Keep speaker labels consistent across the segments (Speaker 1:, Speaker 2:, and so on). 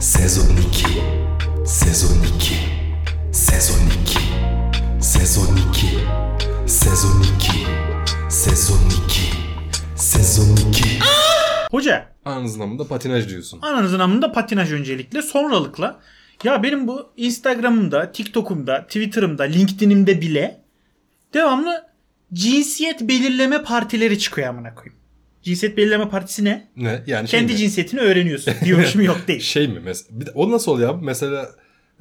Speaker 1: Sezon 2 Sezon 2 Sezon 2 Sezon 2 Sezon 2 Sezon 2 Sezon 2
Speaker 2: Hoca
Speaker 3: Anlamında patinaj diyorsun.
Speaker 2: ananızın amında patinaj öncelikle sonralıkla ya benim bu Instagram'ımda, TikTok'umda, Twitter'ımda, LinkedIn'imde bile devamlı cinsiyet belirleme partileri çıkıyor amına koyayım. Cinsiyet belirleme partisi ne?
Speaker 3: Ne? Yani şey
Speaker 2: Kendi
Speaker 3: mi?
Speaker 2: cinsiyetini öğreniyorsun. Diyormuşum yok değil.
Speaker 3: Şey mi? Mes- bir de- o nasıl oluyor abi? Mesela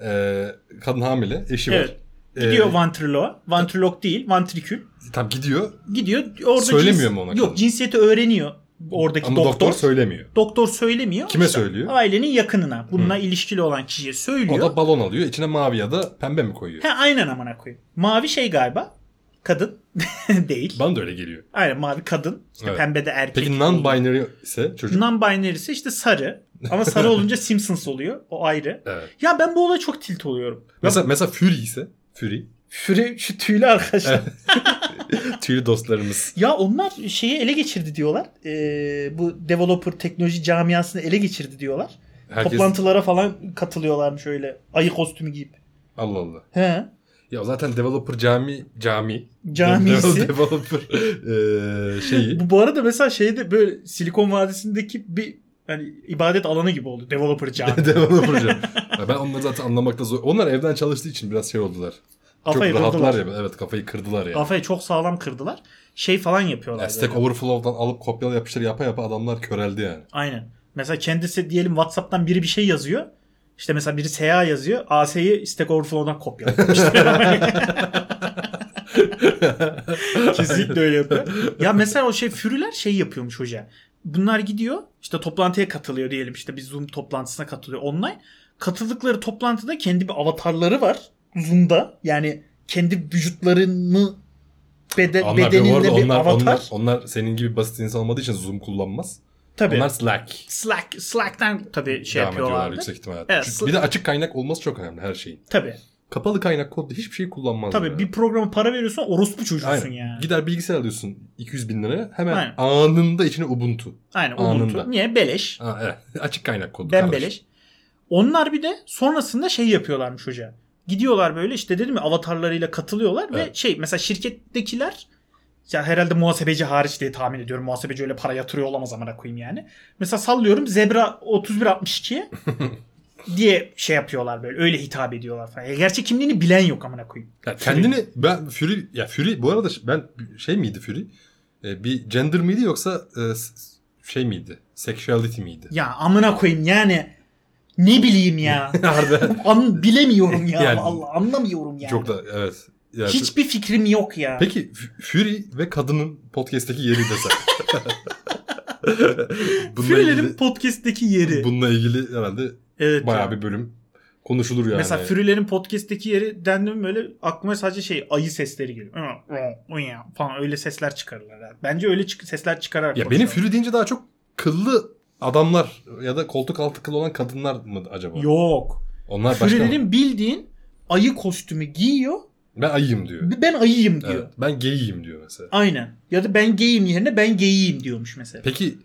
Speaker 3: e, kadın hamile, eşi
Speaker 2: Evet.
Speaker 3: var. E,
Speaker 2: Gidiyor vantrilo. Vantrolog değil, vantrikül.
Speaker 3: Tam gidiyor
Speaker 2: Gidiyor orada
Speaker 3: Söylemiyor mu ona
Speaker 2: Yok
Speaker 3: kadın?
Speaker 2: cinsiyeti öğreniyor oradaki
Speaker 3: ama doktor,
Speaker 2: doktor.
Speaker 3: söylemiyor.
Speaker 2: doktor söylemiyor.
Speaker 3: Kime söylüyor?
Speaker 2: Ailenin yakınına. Bununla ilişkili olan kişiye
Speaker 3: O
Speaker 2: söylüyor.
Speaker 3: da balon alıyor. İçine mavi ya da pembe mi koyuyor?
Speaker 2: He aynen amına koyayım. Mavi şey galiba. Kadın değil.
Speaker 3: Bana da öyle geliyor.
Speaker 2: aynen mavi kadın. İşte
Speaker 3: Evet.
Speaker 2: pembe de erkek.
Speaker 3: Peki
Speaker 2: olduğu-
Speaker 3: non-binary ise çocuk.
Speaker 2: Non-binary'si işte sarı. Ama sarı olunca Simpsons oluyor. O ayrı.
Speaker 3: Evet.
Speaker 2: Ya ben bu olaya çok tilt oluyorum.
Speaker 3: Mesela, mesela Fury ise. Fury.
Speaker 2: Şuraya şu tüylü arkadaşlar.
Speaker 3: Tüylü dostlarımız.
Speaker 2: Ya onlar şeyi ele geçirdi diyorlar. Ee, bu developer teknoloji camiasını ele geçirdi diyorlar.
Speaker 3: Herkes...
Speaker 2: Toplantılara falan katılıyorlarmış öyle ayı kostümü giyip.
Speaker 3: Allah Allah.
Speaker 2: He.
Speaker 3: Ya zaten developer cami cami.
Speaker 2: Camisi.
Speaker 3: Devel- Developer eee, şeyi.
Speaker 2: Bu, bu arada mesela şeyde böyle Silikon Vadisi'ndeki bir hani ibadet alanı gibi oldu. Developer cami.
Speaker 3: developer cami. Ya ben onları zaten anlamakta zor. Onlar evden çalıştığı için biraz şey oldular.
Speaker 2: Kafayı
Speaker 3: Çok rahatlar
Speaker 2: kırdılar.
Speaker 3: ya. Evet kafayı kırdılar ya.
Speaker 2: Kafayı çok sağlam kırdılar. Şey falan yapıyorlar.
Speaker 3: Yani Stack
Speaker 2: böyle.
Speaker 3: Overflow'dan alıp kopyala yapıştır yapa yapa adamlar köreldi yani.
Speaker 2: Aynen. Mesela kendisi diyelim WhatsApp'tan biri bir şey yazıyor. İşte mesela biri SEA yazıyor. AS'yi Stack Overflow'dan kopyalamıştır. Kesinlikle öyle yapıyor. Ya mesela o şey Fury'ler şey yapıyormuş hoca. Bunlar gidiyor işte toplantıya katılıyor diyelim işte bir Zoom toplantısına katılıyor online. Katıldıkları toplantıda kendi bir avatarları var Zoom'da. Yani kendi vücutlarını bede,
Speaker 3: Onlar bir, bu
Speaker 2: bedeninde
Speaker 3: arada
Speaker 2: bir
Speaker 3: onlar,
Speaker 2: avatar.
Speaker 3: onlar, onlar senin gibi basit insan olmadığı için Zoom kullanmaz.
Speaker 2: tabii.
Speaker 3: Onlar Slack.
Speaker 2: Slack Slack'tan tabii şey
Speaker 3: devam ediyorlar
Speaker 2: yapıyorlardı.
Speaker 3: yüksek ihtimalle.
Speaker 2: Evet,
Speaker 3: Çünkü
Speaker 2: Slack-
Speaker 3: bir de açık kaynak olması çok önemli her şeyin.
Speaker 2: Tabii.
Speaker 3: Kapalı kaynak kodda hiçbir şey kullanmaz.
Speaker 2: Tabii bir programa para veriyorsan orospu çocuğusun
Speaker 3: Aynen.
Speaker 2: yani.
Speaker 3: Gider bilgisayar alıyorsun 200 bin liraya hemen
Speaker 2: Aynen.
Speaker 3: anında içine Ubuntu.
Speaker 2: Aynen
Speaker 3: Anında.
Speaker 2: Ubuntu. Niye? Beleş.
Speaker 3: Ha, evet. Açık kaynak kodu.
Speaker 2: Ben
Speaker 3: kardeş.
Speaker 2: beleş. Onlar bir de sonrasında şey yapıyorlarmış hoca. Gidiyorlar böyle işte dedim ya avatarlarıyla katılıyorlar ve
Speaker 3: Evet.
Speaker 2: şey mesela şirkettekiler ya herhalde muhasebeci hariç diye tahmin ediyorum. Muhasebeci öyle para yatırıyor olamaz amına koyayım yani. Mesela sallıyorum Zebra 3162'ye diye şey yapıyorlar böyle. Öyle hitap ediyorlar falan. Ya gerçek kimliğini bilen yok amına koyayım.
Speaker 3: Ya kendini ben Fury ya Fury bu arada ben şey miydi Fury? Ee, bir gender miydi yoksa e, s- şey miydi? Sexuality miydi?
Speaker 2: Ya amına koyayım yani ne bileyim ya.
Speaker 3: Harbi.
Speaker 2: An bilemiyorum ya.
Speaker 3: Yani-
Speaker 2: Allah anlamıyorum yani.
Speaker 3: Çok da evet. Yani-
Speaker 2: Hiçbir fikrim yok ya.
Speaker 3: Peki F- Fury ve kadının podcast'teki yeri desen. bununla
Speaker 2: Füreler'in
Speaker 3: ilgili,
Speaker 2: podcast'teki yeri.
Speaker 3: bununla ilgili herhalde
Speaker 2: evet.
Speaker 3: bayağı
Speaker 2: ya.
Speaker 3: bir bölüm konuşulur yani.
Speaker 2: Mesela Füreler'in podcast'teki yeri dendim böyle aklıma sadece şey ayı sesleri geliyor. Hı, hı, hı ya falan öyle sesler çıkarırlar. yani. Bence öyle çık- sesler çıkararak
Speaker 3: ya benim
Speaker 2: konuşuyorlar.
Speaker 3: Fury deyince daha çok kıllı adamlar ya da koltuk altı kıllı olan kadınlar mı acaba?
Speaker 2: Yok.
Speaker 3: Onlar başka mı?
Speaker 2: Füreler'in bildiğin ayı kostümü giyiyor.
Speaker 3: Ben ayıyım diyor.
Speaker 2: Ben ayıyım diyor.
Speaker 3: Evet, ben geyiyim diyor mesela.
Speaker 2: Aynen. Ya da ben geyim yerine ben geyiyim diyormuş mesela.
Speaker 3: Peki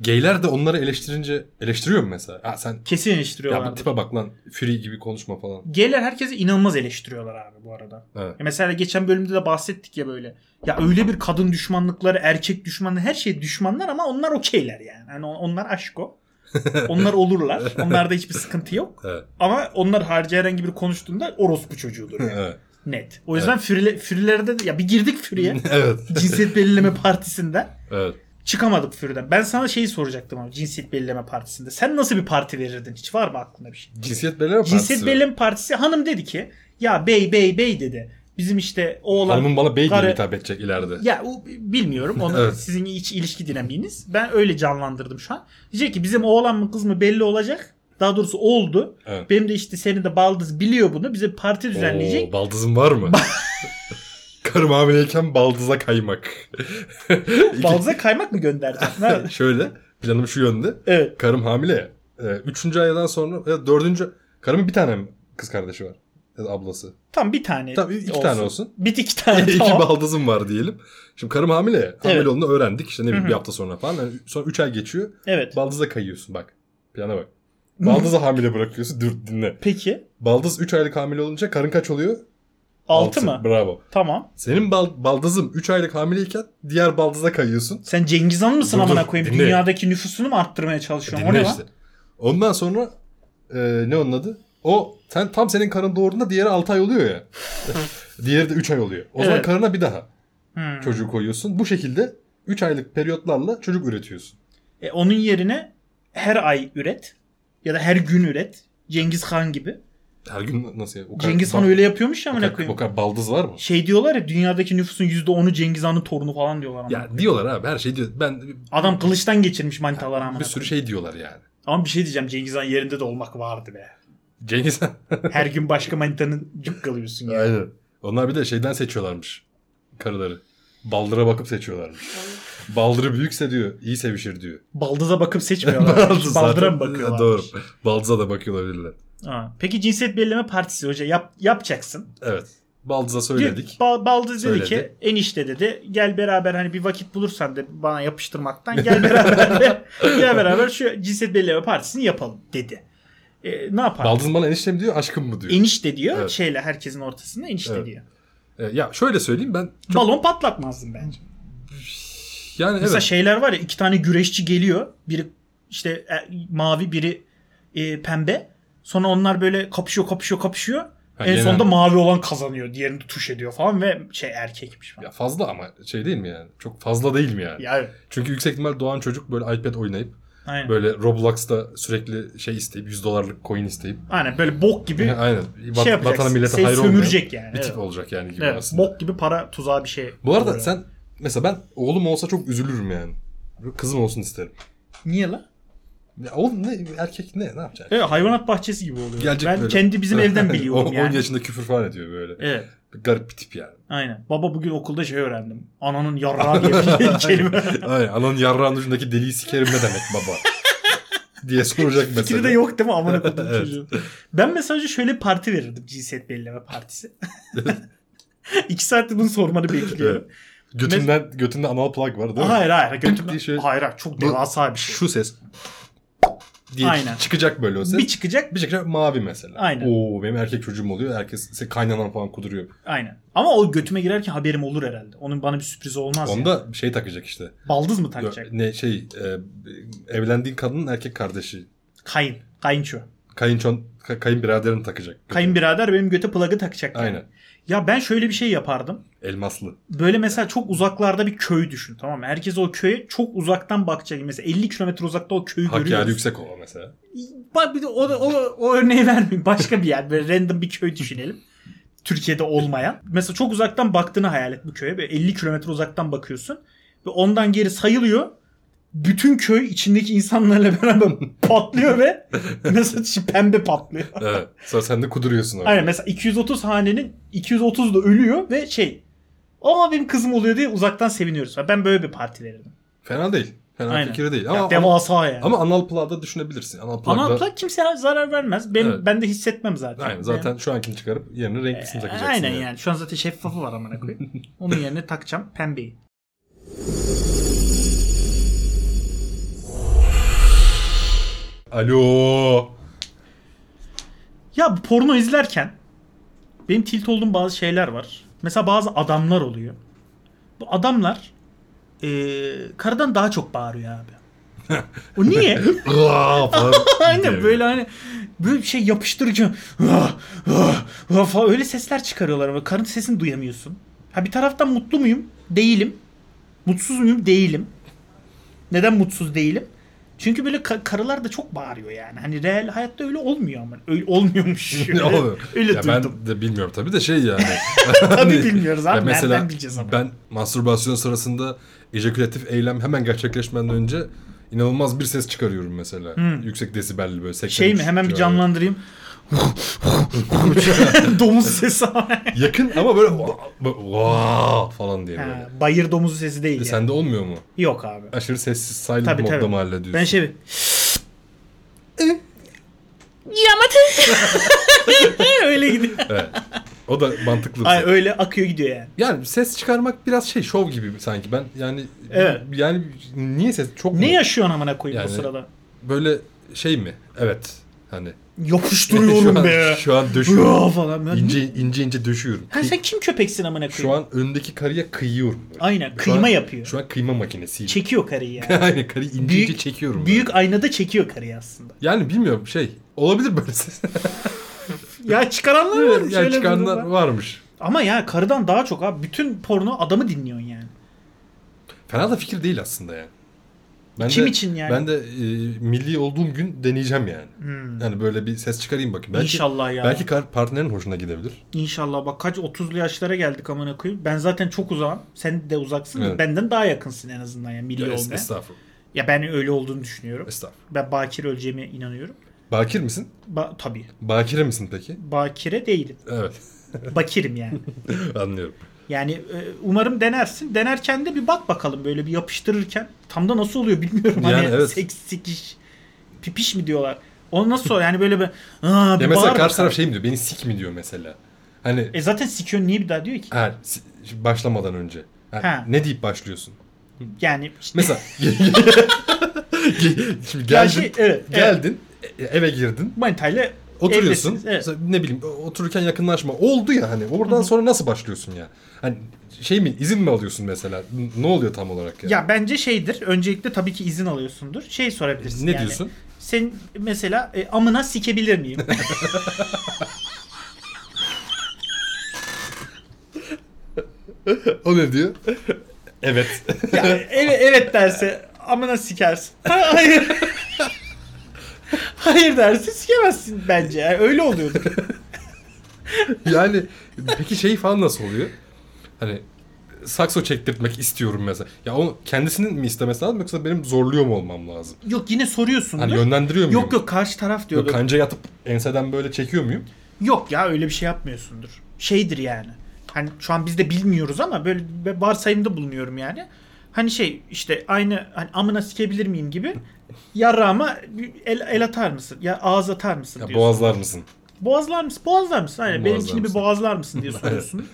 Speaker 3: geyler de onları eleştirince eleştiriyor mu mesela? Ha sen
Speaker 2: Kesin
Speaker 3: ya bu
Speaker 2: eleştiriyorlar.
Speaker 3: tipe bak lan Fury gibi konuşma falan.
Speaker 2: Geyler herkese inanılmaz eleştiriyorlar abi bu arada.
Speaker 3: Evet.
Speaker 2: Ya Mesela geçen bölümde de bahsettik ya böyle. Ya öyle bir kadın düşmanlıkları, erkek düşmanlığı her şey düşmanlar ama onlar okeyler yani. Hani on- onlar aşko. onlar olurlar. Onlarda hiçbir sıkıntı yok.
Speaker 3: Evet.
Speaker 2: Ama onlar harici herhangi biri konuştuğunda orospu çocuğudur yani.
Speaker 3: Evet.
Speaker 2: Net. O yüzden Fury'le- Fury'lerde de- ya bir girdik Fury'e.
Speaker 3: evet.
Speaker 2: cinsiyet belirleme partisinden.
Speaker 3: Evet.
Speaker 2: Çıkamadık Fury'den. Ben sana şeyi soracaktım abi cinsiyet belirleme partisinde. Sen nasıl bir parti verirdin? Hiç var mı aklında bir şey?
Speaker 3: Cinsiyet belirleme
Speaker 2: Cinsiyet
Speaker 3: partisi.
Speaker 2: Belirleme Partisi hanım dedi ki ya bey bey bey dedi. Bizim işte oğlan
Speaker 3: Hanımın bana bey
Speaker 2: Karı-
Speaker 3: diye hitap edecek ileride.
Speaker 2: ya o bilmiyorum. Onu
Speaker 3: Evet.
Speaker 2: sizin iç ilişki dinamiğiniz. Ben öyle canlandırdım şu an. Diyecek ki bizim oğlan mı kız mı belli olacak. Daha doğrusu oldu.
Speaker 3: Evet.
Speaker 2: Benim de işte senin de baldız biliyor bunu. Bize parti düzenleyecek.
Speaker 3: Oo, baldızın var mı? Karım hamileyken baldıza kaymak. İki-
Speaker 2: Baldıza kaymak mı gönderecek? Ne-
Speaker 3: Şöyle planım şu yönde.
Speaker 2: evet.
Speaker 3: Karım hamile ya. Ee, Üçüncü aydan sonra ya dördüncü karımın bir tane mi kız kardeşi var. Ya da ablası.
Speaker 2: Tam bir tane.
Speaker 3: Tamam iki tane olsun.
Speaker 2: Bir iki tane
Speaker 3: İki
Speaker 2: tamam.
Speaker 3: baldızım var diyelim. Şimdi karım hamile. ya. Hamile
Speaker 2: Evet.
Speaker 3: olduğunu öğrendik. İşte ne bileyim
Speaker 2: Hı hı.
Speaker 3: bir hafta sonra falan. Yani sonra 3 ay geçiyor.
Speaker 2: Evet.
Speaker 3: Baldıza kayıyorsun bak. Plana bak. Baldız'ı hamile bırakıyorsun. Dur dinle.
Speaker 2: Peki.
Speaker 3: Baldız 3 aylık hamile olunca karın kaç oluyor?
Speaker 2: 6
Speaker 3: Altı.
Speaker 2: mı?
Speaker 3: Bravo.
Speaker 2: Tamam.
Speaker 3: Senin bal- baldızım 3 aylık hamileyken diğer baldıza kayıyorsun.
Speaker 2: Sen Cengiz Han mısın
Speaker 3: Dur,
Speaker 2: amına
Speaker 3: dur,
Speaker 2: koyayım?
Speaker 3: dinle.
Speaker 2: Dünyadaki nüfusunu mu arttırmaya çalışıyorsun? O
Speaker 3: Dinle
Speaker 2: ne
Speaker 3: işte.
Speaker 2: lan?
Speaker 3: Ondan sonra e, ne onun adı? O sen tam senin karın doğurduğunda diğeri 6 ay oluyor ya. diğeri de 3 ay oluyor. O zaman
Speaker 2: Evet.
Speaker 3: karına bir daha
Speaker 2: Hmm.
Speaker 3: çocuğu koyuyorsun. Bu şekilde 3 aylık periyotlarla çocuk üretiyorsun.
Speaker 2: E, onun yerine her ay üret ya da her gün üret. Cengiz Han gibi.
Speaker 3: Her gün nasıl ya? O kadar-
Speaker 2: Cengiz Han
Speaker 3: bal-
Speaker 2: öyle yapıyormuş ya
Speaker 3: o
Speaker 2: amına
Speaker 3: kadar, o
Speaker 2: koyayım.
Speaker 3: kadar baldız var mı?
Speaker 2: Şey diyorlar ya dünyadaki nüfusun %10'u Cengiz Han'ın torunu falan diyorlar. amına koyayım.
Speaker 3: Ya diyorlar abi her şey diyor. Ben
Speaker 2: Adam kılıçtan geçirmiş manitalar amına
Speaker 3: bir sürü
Speaker 2: koyayım.
Speaker 3: şey diyorlar yani.
Speaker 2: Ama bir şey diyeceğim Cengiz Han yerinde de olmak vardı be.
Speaker 3: Cengiz Han.
Speaker 2: Her gün başka manitanın cukkalıyorsun ya.
Speaker 3: Aynen. Onlar bir de şeyden seçiyorlarmış karıları. Baldıra bakıp seçiyorlarmış. Baldırı büyükse diyor iyi sevişir diyor.
Speaker 2: Baldıza bakıp seçmiyorlar.
Speaker 3: Baldız
Speaker 2: Baldıra
Speaker 3: zaten-
Speaker 2: mı bakıyorlar?
Speaker 3: Doğru. Baldıza da bakıyor olabilirler.
Speaker 2: Ha. Peki cinsiyet belirleme partisi hoca yap, yapacaksın.
Speaker 3: Evet. Baldıza
Speaker 2: Diyor-
Speaker 3: söyledik.
Speaker 2: Ba- Baldız dedi
Speaker 3: Söyledi.
Speaker 2: ki enişte dedi gel beraber hani bir vakit bulursan de bana yapıştırmaktan gel beraber de, gel beraber şu cinsiyet belirleme partisini yapalım dedi. E, ne yapar?
Speaker 3: Baldız bana eniştem diyor aşkım mı diyor.
Speaker 2: enişte diyor
Speaker 3: Evet.
Speaker 2: şeyle herkesin ortasında enişte
Speaker 3: Evet.
Speaker 2: diyor.
Speaker 3: E, ya şöyle söyleyeyim ben çok
Speaker 2: Balon patlatmazdım bence.
Speaker 3: yani
Speaker 2: Mesela
Speaker 3: evet.
Speaker 2: şeyler var ya iki tane güreşçi geliyor. Biri işte e, mavi biri e, pembe. Sonra onlar böyle kapışıyor kapışıyor kapışıyor.
Speaker 3: Ha,
Speaker 2: en
Speaker 3: genel-
Speaker 2: sonunda mavi olan kazanıyor. Diğerini tuş ediyor falan ve şey erkekmiş falan.
Speaker 3: Ya fazla ama şey değil mi yani? Çok fazla değil mi yani?
Speaker 2: Ya, evet.
Speaker 3: Çünkü yüksek ihtimal doğan çocuk böyle iPad oynayıp
Speaker 2: Aynen.
Speaker 3: böyle Roblox'ta sürekli şey isteyip 100 dolarlık coin isteyip
Speaker 2: Aynen böyle bok gibi
Speaker 3: aynen Bat-
Speaker 2: şey yapacaksın.
Speaker 3: vatana millete
Speaker 2: Seni
Speaker 3: hayır olmayan
Speaker 2: sömürecek yani.
Speaker 3: bir
Speaker 2: evet.
Speaker 3: tip olacak yani gibi
Speaker 2: Evet,
Speaker 3: aslında.
Speaker 2: bok gibi para tuzağı bir şey.
Speaker 3: Bu arada
Speaker 2: oluyor.
Speaker 3: sen mesela ben oğlum olsa çok üzülürüm yani. Kızım olsun isterim.
Speaker 2: niye la?
Speaker 3: Ya oğlum ne erkek ne ne yapacak?
Speaker 2: Evet, hayvanat bahçesi gibi oluyor.
Speaker 3: Gelecek
Speaker 2: ben
Speaker 3: böyle.
Speaker 2: kendi bizim evden biliyorum
Speaker 3: 10
Speaker 2: yani.
Speaker 3: yaşında küfür falan ediyor böyle.
Speaker 2: Evet.
Speaker 3: Garip bir tip yani.
Speaker 2: Aynen. Baba bugün okulda şey öğrendim. Ananın yarrağı diye bir şey, kelime.
Speaker 3: Aynen ananın yarrağının ucundaki deliği sikerim ne demek baba? diye soracak mesela.
Speaker 2: Fikri de yok değil mi? Aman akıllım
Speaker 3: Evet.
Speaker 2: çocuğu. Ben mesajı şöyle bir parti verirdim. Cinsiyet belirleme partisi. İki saattir bunu sormanı bekliyorum.
Speaker 3: Götünden, götünde anal plug var değil mi?
Speaker 2: hayır hayır. Götüm,
Speaker 3: diye şöyle-
Speaker 2: hayır hayır. Çok
Speaker 3: Bu-
Speaker 2: devasa bir şey.
Speaker 3: şey- Şu ses diye
Speaker 2: Aynen.
Speaker 3: çıkacak böyle o ses.
Speaker 2: Bir
Speaker 3: Bir,
Speaker 2: çıkacak.
Speaker 3: çıkacak mavi mesela.
Speaker 2: Aynen.
Speaker 3: Oo benim erkek çocuğum oluyor. Herkes kaynanan falan kuduruyor.
Speaker 2: Aynen. Ama o götüme girerken haberim olur herhalde. Onun bana bir sürprizi olmaz. yani.
Speaker 3: Onda şey takacak işte.
Speaker 2: Baldız mı takacak?
Speaker 3: Ne şey e, evlendiğin kadının erkek kardeşi.
Speaker 2: Kayın. Kayınço.
Speaker 3: Kayınçon, ka- kayınbiraderini takacak.
Speaker 2: Kayınbirader benim göte plug'ı takacak. yani.
Speaker 3: Aynen.
Speaker 2: Ya ben şöyle bir şey yapardım.
Speaker 3: Elmaslı.
Speaker 2: Böyle mesela çok uzaklarda bir köy düşün tamam mı? Herkes o köye çok uzaktan bakacak. Mesela 50 kilometre uzakta o köyü
Speaker 3: Hakkari
Speaker 2: görüyoruz.
Speaker 3: yüksek ova mesela.
Speaker 2: Bak bir de o, o, o örneği vermeyeyim. Başka bir yer. Böyle random bir köy düşünelim. Türkiye'de olmayan. Mesela çok uzaktan baktığını hayal et bu köye. Böyle 50 kilometre uzaktan bakıyorsun. Ve ondan geri sayılıyor. Bütün köy içindeki insanlarla beraber patlıyor ve mesela şu pembe patlıyor.
Speaker 3: Evet. Sonra sen de kuduruyorsun orada.
Speaker 2: Aynen mesela 230 hanenin 230 da ölüyor ve şey ama benim kızım oluyor diye uzaktan seviniyoruz. Ben böyle bir parti verirdim.
Speaker 3: Fena değil. Fena
Speaker 2: Aynen.
Speaker 3: fikir değil. Ama,
Speaker 2: Ya, devasa yani.
Speaker 3: ama anal plağda düşünebilirsin. Anal plağda.
Speaker 2: Ama plak kimseye zarar vermez. Ben
Speaker 3: Evet.
Speaker 2: ben de hissetmem zaten.
Speaker 3: Aynen zaten şu ankini çıkarıp yerine renklisini
Speaker 2: Ben-
Speaker 3: takacaksın.
Speaker 2: E, Aynen yani. Şu an zaten şeffafı var amına koyayım. Onun yerine takacağım pembeyi.
Speaker 3: Alo.
Speaker 2: Ya bu porno izlerken benim tilt olduğum bazı şeyler var. Mesela bazı adamlar oluyor. Bu adamlar eee karıdan daha çok bağırıyor abi. o niye?
Speaker 3: Aa, falan
Speaker 2: Aynen
Speaker 3: diye.
Speaker 2: böyle hani böyle bir şey yapıştırıcı "Ah, ah, ah" falan öyle sesler çıkarıyorlar ama karın sesini duyamıyorsun. Ha bir taraftan mutlu muyum? Değilim. Mutsuz muyum? Değilim. Neden mutsuz değilim? Çünkü böyle ka- karılar da çok bağırıyor yani. Hani real hayatta öyle olmuyor ama. Öyle olmuyormuş.
Speaker 3: Ne oluyor?
Speaker 2: öyle
Speaker 3: ya
Speaker 2: duydum.
Speaker 3: ben de bilmiyorum tabii de şey yani.
Speaker 2: Tabii bilmiyoruz abi.
Speaker 3: Ya
Speaker 2: Nereden bileceğiz ama.
Speaker 3: Ben mastürbasyon sırasında ejakülatif eylem hemen gerçekleşmeden önce inanılmaz bir ses çıkarıyorum mesela. Yüksek desibelli böyle 83
Speaker 2: Hmm. Şey mi hemen bir
Speaker 3: civarı.
Speaker 2: canlandırayım. domuz sesi. ama.
Speaker 3: Yakın ama böyle "Vaa!" böyle "Vaa!" falan diye böyle.
Speaker 2: Ha, bayır domuzu sesi değil.
Speaker 3: E,
Speaker 2: yani.
Speaker 3: Sende olmuyor mu?
Speaker 2: Yok abi.
Speaker 3: Aşırı sessiz silent
Speaker 2: Tabii,
Speaker 3: modda
Speaker 2: tabii.
Speaker 3: mı hallediyorsun?
Speaker 2: Ben şey öyle gidiyor.
Speaker 3: Evet. O da mantıklı bir
Speaker 2: Ay
Speaker 3: şey.
Speaker 2: öyle akıyor gidiyor yani.
Speaker 3: Yani ses çıkarmak biraz şey şov gibi sanki. Ben yani
Speaker 2: Evet.
Speaker 3: yani niye ses çok mu?
Speaker 2: Ne yaşıyorsun amına koyayım bu
Speaker 3: Yani-
Speaker 2: sırada?
Speaker 3: böyle şey mi? Evet. Hani şu
Speaker 2: Yapıştırıyorum
Speaker 3: an,
Speaker 2: be.
Speaker 3: şu an
Speaker 2: Ya
Speaker 3: döşüyorum.
Speaker 2: falan. Ben-
Speaker 3: ince ince ince döşüyorum.
Speaker 2: Ha, sen kim köpeksin amına
Speaker 3: Şu
Speaker 2: koyayım?
Speaker 3: an öndeki karıya kıyıyorum. böyle.
Speaker 2: Aynen,
Speaker 3: Şu
Speaker 2: kıyma
Speaker 3: an-
Speaker 2: yapıyor.
Speaker 3: Şu an kıyma makinesiyle.
Speaker 2: Çekiyor karıyı yani.
Speaker 3: Aynen karıyı ince
Speaker 2: Büyük-
Speaker 3: ince çekiyorum. böyle.
Speaker 2: Büyük aynada çekiyor karıyı aslında.
Speaker 3: Yani bilmiyorum şey olabilir böyle.
Speaker 2: Ya çıkaranlar var mı?
Speaker 3: yani
Speaker 2: Şöyle
Speaker 3: çıkanlar
Speaker 2: bir-
Speaker 3: varmış.
Speaker 2: Ama ya karıdan daha çok abi. Bütün porno adamı dinliyorsun yani.
Speaker 3: Fena da fikir değil aslında yani. Ben
Speaker 2: Kim
Speaker 3: de,
Speaker 2: için yani?
Speaker 3: Ben de e, milli olduğum gün deneyeceğim yani.
Speaker 2: Hmm.
Speaker 3: Yani böyle bir ses çıkarayım bakayım. Belki,
Speaker 2: İnşallah ya.
Speaker 3: Belki kar- partnerin hoşuna gidebilir.
Speaker 2: İnşallah bak kaç 30'lu yaşlara geldik amına koyayım. Ben zaten çok uzağım. Sen de uzaksın. da
Speaker 3: Evet.
Speaker 2: Benden daha yakınsın en azından yani milli
Speaker 3: Ya, es-
Speaker 2: olmaya.
Speaker 3: estağfurullah.
Speaker 2: Ya ben öyle olduğunu düşünüyorum.
Speaker 3: Estağfurullah.
Speaker 2: Ben bakir öleceğime inanıyorum.
Speaker 3: Bakir misin?
Speaker 2: Ba tabii.
Speaker 3: Bakire misin peki?
Speaker 2: Bakire değilim.
Speaker 3: Evet.
Speaker 2: Bakirim yani.
Speaker 3: Anlıyorum.
Speaker 2: Yani e, umarım denersin. Denerken de bir bak bakalım böyle bir yapıştırırken. Tam da nasıl oluyor bilmiyorum.
Speaker 3: Yani
Speaker 2: hani
Speaker 3: evet.
Speaker 2: seks sikiş pipiş mi diyorlar. O nasıl oluyor? Yani böyle bir, Aa, bir
Speaker 3: Ya mesela
Speaker 2: bağır
Speaker 3: karşı
Speaker 2: bakalım.
Speaker 3: taraf şey mi diyor? Beni sik mi diyor mesela? Hani
Speaker 2: E zaten sikiyorsun niye bir daha diyor ki?
Speaker 3: ha, si- şimdi başlamadan önce. Ha,
Speaker 2: Ha.
Speaker 3: Ne deyip başlıyorsun?
Speaker 2: Yani işte-
Speaker 3: Mesela şimdi
Speaker 2: Ya
Speaker 3: geldin,
Speaker 2: şey, evet,
Speaker 3: geldin e- eve girdin,
Speaker 2: Manitayla
Speaker 3: oturuyorsun.
Speaker 2: evdesiniz, evet.
Speaker 3: Mesela Ne bileyim otururken yakınlaşma oldu ya hani oradan sonra nasıl başlıyorsun ya? Hani şey mi izin mi alıyorsun mesela? N- Ne oluyor tam olarak ya?
Speaker 2: Ya bence şeydir. Öncelikle tabii ki izin alıyorsundur. Şey sorabilirsin
Speaker 3: ne
Speaker 2: yani.
Speaker 3: diyorsun?
Speaker 2: Sen mesela e, amına sikebilir miyim?
Speaker 3: O ne diyor? evet.
Speaker 2: Ya, evet, evet derse amına sikersin. Ha, Hayır. Hayır derse sikemezsin bence. Yani öyle oluyordur.
Speaker 3: yani peki şey falan nasıl oluyor? Hani sakso çektirtmek istiyorum mesela. Ya onu kendisinin mi istemesi lazım yoksa benim zorluyor mu olmam lazım?
Speaker 2: Yok yine soruyorsundur.
Speaker 3: Hani yönlendiriyor muyum?
Speaker 2: yok yok karşı taraf
Speaker 3: Yok, hani
Speaker 2: diyordur. Yok,
Speaker 3: kanca yatıp enseden böyle çekiyor muyum?
Speaker 2: ya öyle bir şey yapmıyorsundur. Şeydir yani. Hani şu an biz de bilmiyoruz ama böyle bir varsayımda bulunuyorum yani. Hani şey işte aynı hani amına sikebilir miyim gibi yarrağıma bir el, el atar mısın? Ya ağız atar mısın
Speaker 3: Ya
Speaker 2: diyorsun.
Speaker 3: boğazlar mısın?
Speaker 2: Boğazlar mısın? Boğazlar mısın? Aynen.
Speaker 3: Boğazlar
Speaker 2: Benimkini bir
Speaker 3: mısın?
Speaker 2: boğazlar mısın diye soruyorsun.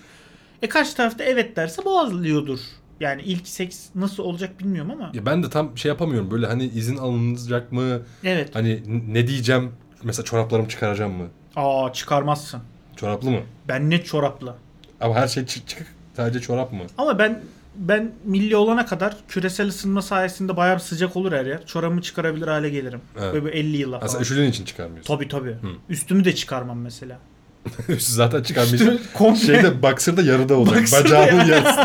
Speaker 2: e karşı tarafta evet derse boğazlıyordur. Yani ilk seks nasıl olacak bilmiyorum ama.
Speaker 3: Ya ben de tam şey yapamıyorum böyle hani izin alınacak mı?
Speaker 2: Evet.
Speaker 3: Hani n- ne diyeceğim? Mesela çoraplarımı çıkaracağım mı?
Speaker 2: Aa çıkarmazsın.
Speaker 3: Çoraplı mı?
Speaker 2: Ben ne çoraplı.
Speaker 3: Ama her şey çık çık. Sadece çorap mı?
Speaker 2: Ama ben ben milli olana kadar küresel ısınma sayesinde bayağı bir sıcak olur her yer. Çorabımı çıkarabilir hale gelirim.
Speaker 3: Evet.
Speaker 2: Böyle bir 50 yıla falan.
Speaker 3: Aslında üşüdüğün için çıkarmıyorsun.
Speaker 2: Tabii tabii. Üstümü de çıkarmam mesela.
Speaker 3: Zaten çıkarmıyorsun.
Speaker 2: komple.
Speaker 3: Şeyde baksırda yarıda olacak.
Speaker 2: Boxer'da
Speaker 3: Bacağının yarısı.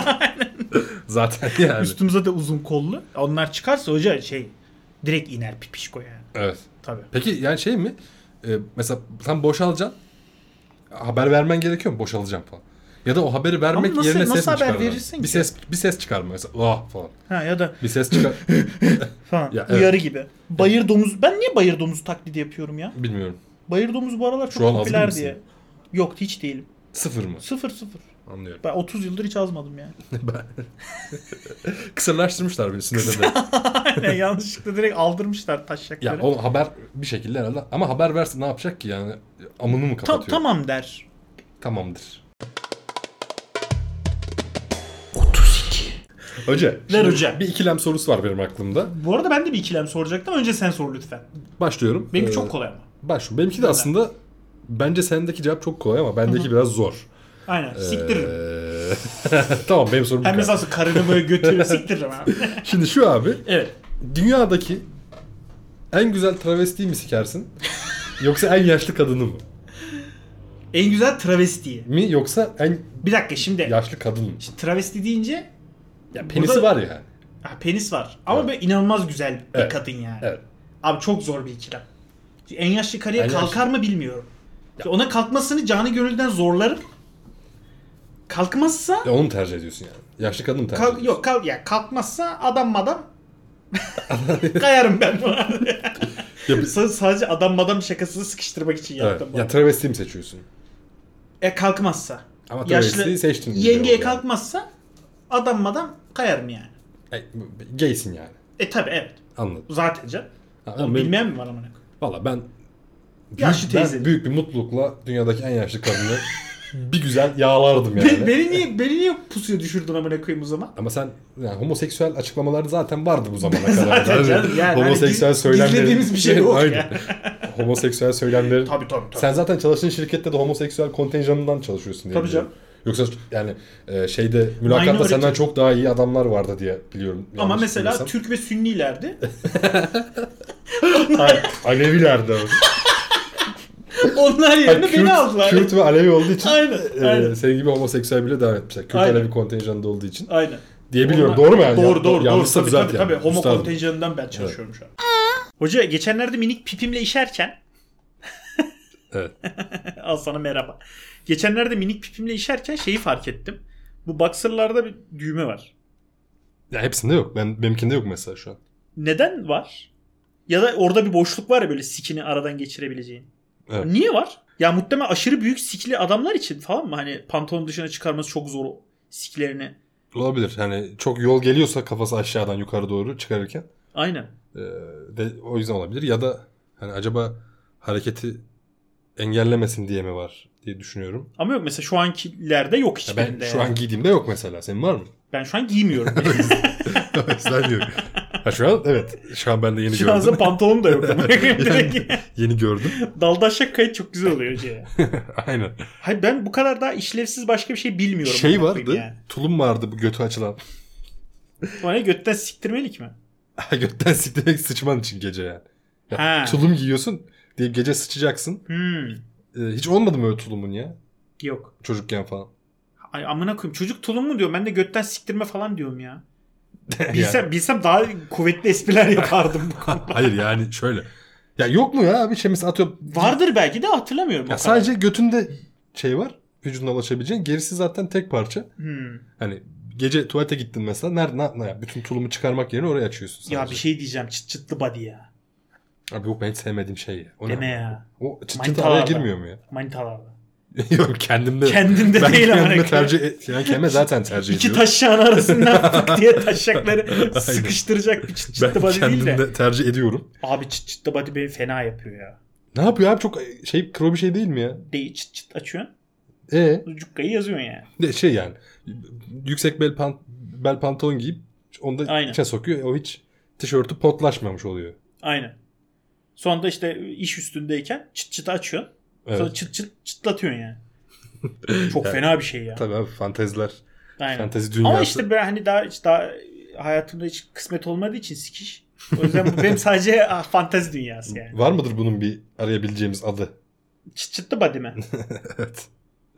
Speaker 3: Zaten yani.
Speaker 2: Üstüm zaten uzun kollu. Onlar çıkarsa hoca şey direkt iner pipişko yani.
Speaker 3: Evet.
Speaker 2: Tabii.
Speaker 3: Peki yani şey mi? Ee, mesela sen boşalacaksın. Haber vermen gerekiyor mu? Boşalacağım falan. Ya da o haberi vermek
Speaker 2: nasıl-
Speaker 3: yerine ses
Speaker 2: nasıl
Speaker 3: mi
Speaker 2: haber
Speaker 3: çıkarmadan?
Speaker 2: verirsin
Speaker 3: Bir
Speaker 2: ki?
Speaker 3: ses bir ses çıkarma mesela. Ah falan.
Speaker 2: Ha ya da
Speaker 3: Bir ses çıkar.
Speaker 2: falan.
Speaker 3: Ya, evet.
Speaker 2: Uyarı gibi. Bayır domuz. Ben niye bayır domuzu taklidi yapıyorum ya?
Speaker 3: Bilmiyorum.
Speaker 2: Bayır domuz bu aralar çok
Speaker 3: Şu an azgın
Speaker 2: popüler
Speaker 3: mısın?
Speaker 2: diye. Yok hiç değilim.
Speaker 3: Sıfır mı?
Speaker 2: Sıfır sıfır.
Speaker 3: Anlıyorum.
Speaker 2: Ben 30 yıldır hiç azmadım yani.
Speaker 3: Ben- Kısırlaştırmışlar beni sinirden.
Speaker 2: Aynen yanlışlıkla direkt aldırmışlar taşakları.
Speaker 3: ya o haber bir şekilde herhalde. Ama haber verse ne yapacak ki yani? Amını mı
Speaker 2: Ta-
Speaker 3: kapatıyor?
Speaker 2: tamam der.
Speaker 3: Tamamdır. 32. Hoca. şimdi
Speaker 2: hoca.
Speaker 3: Bir ikilem sorusu var benim aklımda.
Speaker 2: Bu arada ben de bir ikilem soracaktım. Önce sen sor lütfen.
Speaker 3: Başlıyorum.
Speaker 2: Benimki
Speaker 3: Ee,
Speaker 2: çok kolay ama.
Speaker 3: Başlıyorum. Benimki de aslında bence sendeki cevap çok kolay ama bendeki biraz zor.
Speaker 2: Aynen. Siktiririm.
Speaker 3: Ee, tamam benim sorum bu
Speaker 2: Hem
Speaker 3: kadar.
Speaker 2: mesela karını böyle götürür siktiririm abi.
Speaker 3: Şimdi şu abi.
Speaker 2: evet.
Speaker 3: Dünyadaki en güzel travestiyi mi sikersin? yoksa en yaşlı kadını mı?
Speaker 2: En güzel travestiyi.
Speaker 3: Mi yoksa en
Speaker 2: Bir dakika şimdi.
Speaker 3: yaşlı kadın mı?
Speaker 2: Şimdi travesti deyince
Speaker 3: Ya penisi
Speaker 2: burada-
Speaker 3: var yani.
Speaker 2: ha, penis var. Ama
Speaker 3: Evet.
Speaker 2: böyle inanılmaz güzel bir
Speaker 3: Evet.
Speaker 2: kadın yani.
Speaker 3: Evet.
Speaker 2: Abi çok zor bir ikilem. En yaşlı karıya
Speaker 3: En yaşlı-
Speaker 2: kalkar mı bilmiyorum. Ona kalkmasını canı gönülden zorlarım. Kalkmazsa
Speaker 3: Ya E, onu mu tercih ediyorsun yani? Yaşlı kadını mı tercih
Speaker 2: kalk,
Speaker 3: ediyorsun?
Speaker 2: yok kalk ya kalkmazsa adam madam kayarım ben buna.
Speaker 3: Ya, bir-
Speaker 2: S- Sadece adam madam şakasını sıkıştırmak için
Speaker 3: evet.
Speaker 2: yaptım bunu.
Speaker 3: ya travestiyi mi seçiyorsun?
Speaker 2: e kalkmazsa.
Speaker 3: Ama travestiyi seçtin. gibi
Speaker 2: Yengeye
Speaker 3: oldu yani.
Speaker 2: kalkmazsa adam madam kayarım yani.
Speaker 3: E, gaysin yani.
Speaker 2: E tabi evet.
Speaker 3: Anladım.
Speaker 2: Zaten canım.
Speaker 3: Ha,
Speaker 2: Onu
Speaker 3: ama benim-
Speaker 2: bilmeyen mi var amına koyayım?
Speaker 3: Valla ben
Speaker 2: Yaşlı
Speaker 3: ben
Speaker 2: teyze.
Speaker 3: büyük bir mutlulukla dünyadaki en yaşlı kadını bir güzel yağlardım yani.
Speaker 2: Be- beni niye beni niye pusuya düşürdün amına koyayım o zaman?
Speaker 3: Ama sen yani homoseksüel açıklamalar zaten vardı bu zamana kadar.
Speaker 2: Zaten canım yani hani
Speaker 3: homoseksüel
Speaker 2: giz-
Speaker 3: söylemlerin
Speaker 2: gizlediğimiz bir şey yok
Speaker 3: Aynen.
Speaker 2: yani.
Speaker 3: homoseksüel söylemlerin.
Speaker 2: Tabii tabii tabii.
Speaker 3: Sen zaten çalıştığın şirkette de homoseksüel kontenjanından çalışıyorsun diye
Speaker 2: Tabii
Speaker 3: biliyorum. Yoksa yani e, şeyde mülakatta
Speaker 2: Minority.
Speaker 3: senden çok daha iyi adamlar vardı diye biliyorum.
Speaker 2: Ama
Speaker 3: Yanlış
Speaker 2: mesela
Speaker 3: bilmiyorsam.
Speaker 2: Türk ve Sünnilerdi.
Speaker 3: Hayır, Alevilerdi ama.
Speaker 2: Onlar yerine
Speaker 3: Hayır,
Speaker 2: beni
Speaker 3: Kürt-
Speaker 2: aldılar.
Speaker 3: Kürt ve Alevi olduğu için
Speaker 2: Aynen,
Speaker 3: e,
Speaker 2: aynen.
Speaker 3: senin gibi homoseksüel bile devam etmişler. Kürt
Speaker 2: Aynen.
Speaker 3: Alevi kontenjanında olduğu için.
Speaker 2: Aynen.
Speaker 3: Diye E, biliyorum.
Speaker 2: Onlar-
Speaker 3: Doğru mu yani?
Speaker 2: Doğru
Speaker 3: Ya-
Speaker 2: doğru doğru.
Speaker 3: yanlışsa
Speaker 2: Tabii
Speaker 3: düzelt
Speaker 2: tabii,
Speaker 3: yani.
Speaker 2: tabii. Homo
Speaker 3: Üstadım.
Speaker 2: kontenjanından ben çalışıyorum şu an. Hoca geçenlerde minik pipimle işerken
Speaker 3: Evet.
Speaker 2: Al sana merhaba. Geçenlerde minik pipimle işerken şeyi fark ettim. Bu boxer'larda bir düğme var.
Speaker 3: Ya hepsinde yok. Ben benimkinde yok mesela şu an.
Speaker 2: Neden var? Ya da orada bir boşluk var ya böyle sikini aradan geçirebileceğin.
Speaker 3: Evet.
Speaker 2: Niye var? Ya muhtemelen aşırı büyük sikli adamlar için falan mı? Hani pantolon dışına çıkarması çok zor o siklerini.
Speaker 3: Olabilir. Hani çok yol geliyorsa kafası aşağıdan yukarı doğru çıkarırken
Speaker 2: Aynen.
Speaker 3: e, de o yüzden olabilir ya da hani acaba hareketi engellemesin diye mi var diye düşünüyorum.
Speaker 2: Ama yok mesela şu ankilerde yok
Speaker 3: Ya
Speaker 2: hiçbirinde.
Speaker 3: ben şu an giydiğimde yok mesela. Senin var mı?
Speaker 2: ben şu an giymiyorum.
Speaker 3: o yüzden diyorum. Ha şu an evet. Şu an ben de yeni
Speaker 2: şu an
Speaker 3: gördüm.
Speaker 2: zaten pantolonum da yok. ama. Direkt
Speaker 3: Yeni gördüm.
Speaker 2: Dalda aşağı kayıt çok güzel oluyor hocaya.
Speaker 3: Aynen.
Speaker 2: Hayır ben bu kadar daha işlevsiz başka bir şey bilmiyorum.
Speaker 3: Şey
Speaker 2: Amına koyayım
Speaker 3: vardı. Tulum vardı bu götü açılan.
Speaker 2: O ne götten siktirmelik mi?
Speaker 3: Ha, Götten siktirmek sıçman için gece yani. Ya,
Speaker 2: Ha.
Speaker 3: Tulum giyiyorsun diye gece sıçacaksın.
Speaker 2: Hmm.
Speaker 3: Ee, hiç olmadı mı öyle tulumun ya?
Speaker 2: Yok.
Speaker 3: Çocukken falan.
Speaker 2: Ay amına koyayım çocuk tulum mu diyor. Ben de götten siktirme falan diyorum ya.
Speaker 3: Yani-
Speaker 2: Bilsem, bilsem daha kuvvetli espriler yapardım bu konuda.
Speaker 3: Hayır yani şöyle. Ya yok mu ya bir şey mesela atıyorum.
Speaker 2: Vardır belki de hatırlamıyorum. o
Speaker 3: Ya
Speaker 2: kadar.
Speaker 3: sadece götünde şey var. Vücuduna ulaşabileceğin. Gerisi zaten tek parça.
Speaker 2: Hmm.
Speaker 3: Hani gece tuvalete gittin mesela. Nerede? Ne, ne- bütün tulumu çıkarmak yerine oraya açıyorsun sadece.
Speaker 2: Ya bir şey diyeceğim çıt çıtlı body ya.
Speaker 3: Abi yok ben hiç sevmediğim şey ya. O ne?
Speaker 2: Deme ya.
Speaker 3: O çıt çıt
Speaker 2: Manitalarla.
Speaker 3: araya girmiyor mu ya?
Speaker 2: Manitalarla.
Speaker 3: yok kendimde.
Speaker 2: Kendinde
Speaker 3: ben
Speaker 2: değil amına
Speaker 3: kendime
Speaker 2: koyayım.
Speaker 3: tercih et, yani kendime zaten tercih
Speaker 2: İki
Speaker 3: ediyorum.
Speaker 2: taşağın arasından fık diye taşakları sıkıştıracak bir çıt çıtlı
Speaker 3: ben
Speaker 2: body değil de.
Speaker 3: kendimde tercih ediyorum.
Speaker 2: Abi çıt çıtlı body beni fena yapıyor ya.
Speaker 3: Ne yapıyor abi çok şey kro bir şey değil mi ya?
Speaker 2: Değil çıt çıt açıyorsun.
Speaker 3: E
Speaker 2: Cukkayı yazıyorsun yani.
Speaker 3: de şey yani yüksek bel pant bel pantolon giyip onu da
Speaker 2: Aynen.
Speaker 3: içe sokuyor. O hiç tişörtü potlaşmamış oluyor.
Speaker 2: Aynen. Sonra da işte iş üstündeyken çıt çıt açıyorsun.
Speaker 3: Evet.
Speaker 2: Sonra çıt çıt çıtlatıyorsun yani. Çok
Speaker 3: Yani-
Speaker 2: fena bir şey ya.
Speaker 3: Tabii abi fanteziler.
Speaker 2: Aynen.
Speaker 3: Fantezi
Speaker 2: Ama
Speaker 3: dünyası.
Speaker 2: işte ben hani daha hiç daha hayatımda hiç kısmet olmadığı için sikiş. O yüzden bu benim sadece ah, fantezi dünyası yani.
Speaker 3: Var mıdır bunun bir arayabileceğimiz adı?
Speaker 2: Çıt çıtlı body mi?
Speaker 3: evet.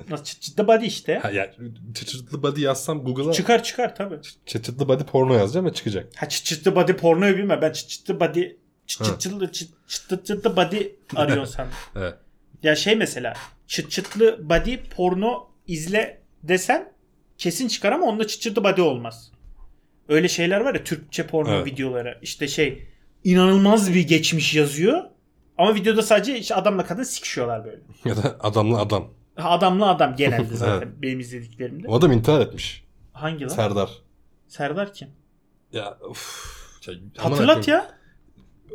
Speaker 2: Nasıl çıt çıtlı body işte.
Speaker 3: Ha yani çıtçıtlı body yazsam Google'a
Speaker 2: Çıkar çıkar tabii.
Speaker 3: çıtçıtlı body porno yazacağım ve çıkacak.
Speaker 2: Ha çıt çıtlı body pornoyu bilme. Ben çıt çıtlı body çıt
Speaker 3: Ha.
Speaker 2: çıt çıtlı çıt çıtlı çıtlı body arıyorsun sen.
Speaker 3: Evet.
Speaker 2: Ya şey mesela çıt çıtlı body porno izle desen kesin çıkar ama onda çıt çıtlı body olmaz. Öyle şeyler var ya Türkçe porno
Speaker 3: Evet.
Speaker 2: videoları işte şey inanılmaz bir geçmiş yazıyor ama videoda sadece işte adamla kadın sikişiyorlar böyle.
Speaker 3: ya da adamla adam.
Speaker 2: Ha, Adamla adam genelde zaten benim izlediklerimde.
Speaker 3: O adam intihar etmiş.
Speaker 2: Hangi lan?
Speaker 3: Serdar.
Speaker 2: Serdar kim?
Speaker 3: Ya uf. Şey, aman
Speaker 2: Hatırlat
Speaker 3: Allah'ım.
Speaker 2: ya.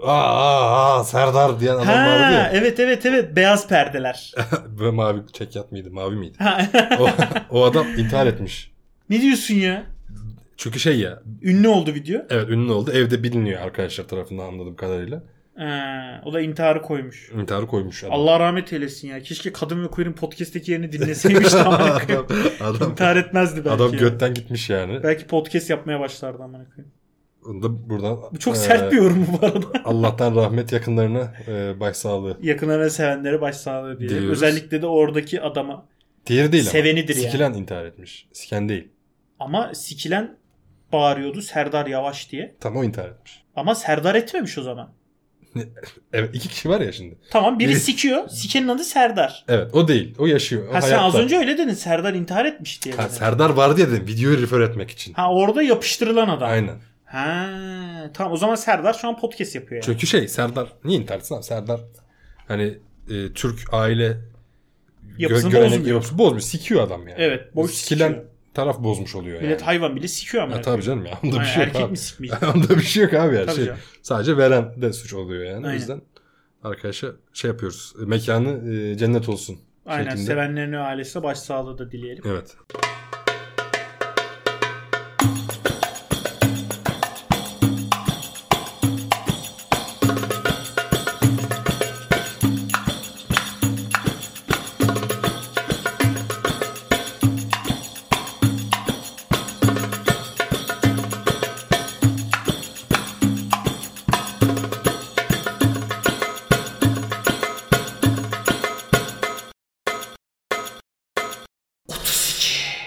Speaker 3: Aa, aa, aa Serdar diyen adam vardı
Speaker 2: Ha,
Speaker 3: ya.
Speaker 2: evet evet evet beyaz perdeler.
Speaker 3: Böyle mavi çekyat mıydı? Mavi miydi?
Speaker 2: Ha.
Speaker 3: O, o adam intihar etmiş.
Speaker 2: ne diyorsun ya?
Speaker 3: Çünkü şey ya
Speaker 2: Ünlü oldu video.
Speaker 3: evet ünlü oldu evde biliniyor arkadaşlar tarafından anladığım kadarıyla.
Speaker 2: Ha, o da intiharı koymuş.
Speaker 3: İntiharı koymuş adam.
Speaker 2: Allah rahmet eylesin ya. Keşke Kadın ve Queer'in podcast'teki yerini dinleseymiş de amına koyayım.
Speaker 3: adam,
Speaker 2: İntihar etmezdi belki.
Speaker 3: adam
Speaker 2: ya.
Speaker 3: götten gitmiş yani.
Speaker 2: Belki podcast yapmaya başlardı amına koyayım.
Speaker 3: Onu da buradan
Speaker 2: Bu çok
Speaker 3: eee,
Speaker 2: sert bir yorum bu arada.
Speaker 3: Allah'tan rahmet yakınlarına eee başsağlığı.
Speaker 2: Yakınlarına sevenlere başsağlığı diye.
Speaker 3: Diliyoruz.
Speaker 2: Özellikle de oradaki adama.
Speaker 3: Diğeri değil
Speaker 2: Sevenidir
Speaker 3: ama.
Speaker 2: yani.
Speaker 3: Sikilen intihar etmiş. Siken değil.
Speaker 2: Ama sikilen bağırıyordu Serdar Yavaş diye.
Speaker 3: Tam o intihar etmiş.
Speaker 2: Ama Serdar etmemiş o zaman.
Speaker 3: Evet iki kişi var ya şimdi.
Speaker 2: Tamam biri
Speaker 3: Biri-
Speaker 2: sikiyor. Sikenin adı Serdar.
Speaker 3: Evet o değil. O yaşıyor. O
Speaker 2: Ha sen
Speaker 3: hayatta.
Speaker 2: az önce öyle dedin. Serdar intihar etmiş diye.
Speaker 3: Ha,
Speaker 2: dedin.
Speaker 3: Serdar vardı ya dedim. Videoyu refer etmek için.
Speaker 2: ha orada yapıştırılan adam.
Speaker 3: Aynen.
Speaker 2: Ha tamam o zaman Serdar şu an podcast yapıyor yani.
Speaker 3: Çünkü şey Serdar niye intihar etsin abi? Serdar hani e, Türk aile
Speaker 2: Yapısını bozmuyor.
Speaker 3: yapısı bozmuş. Sikiyor adam yani.
Speaker 2: Evet, boş
Speaker 3: Sikilen
Speaker 2: sikiyor.
Speaker 3: taraf bozmuş oluyor yani.
Speaker 2: Millet hayvan bile sikiyor ama.
Speaker 3: ya, tabii canım ya. Onda bir
Speaker 2: Aynen,
Speaker 3: şey yok
Speaker 2: erkek
Speaker 3: abi.
Speaker 2: mi sikmeyecek?
Speaker 3: Onda bir şey yok abi yani.
Speaker 2: Tabii
Speaker 3: Şey,
Speaker 2: canım.
Speaker 3: sadece veren de suç oluyor yani. O
Speaker 2: Aynen.
Speaker 3: yüzden arkadaşa şey yapıyoruz. e, Mekanı e, cennet olsun.
Speaker 2: Aynen
Speaker 3: şeklinde.
Speaker 2: sevenlerin ailesine başsağlığı da dileyelim.
Speaker 3: Evet.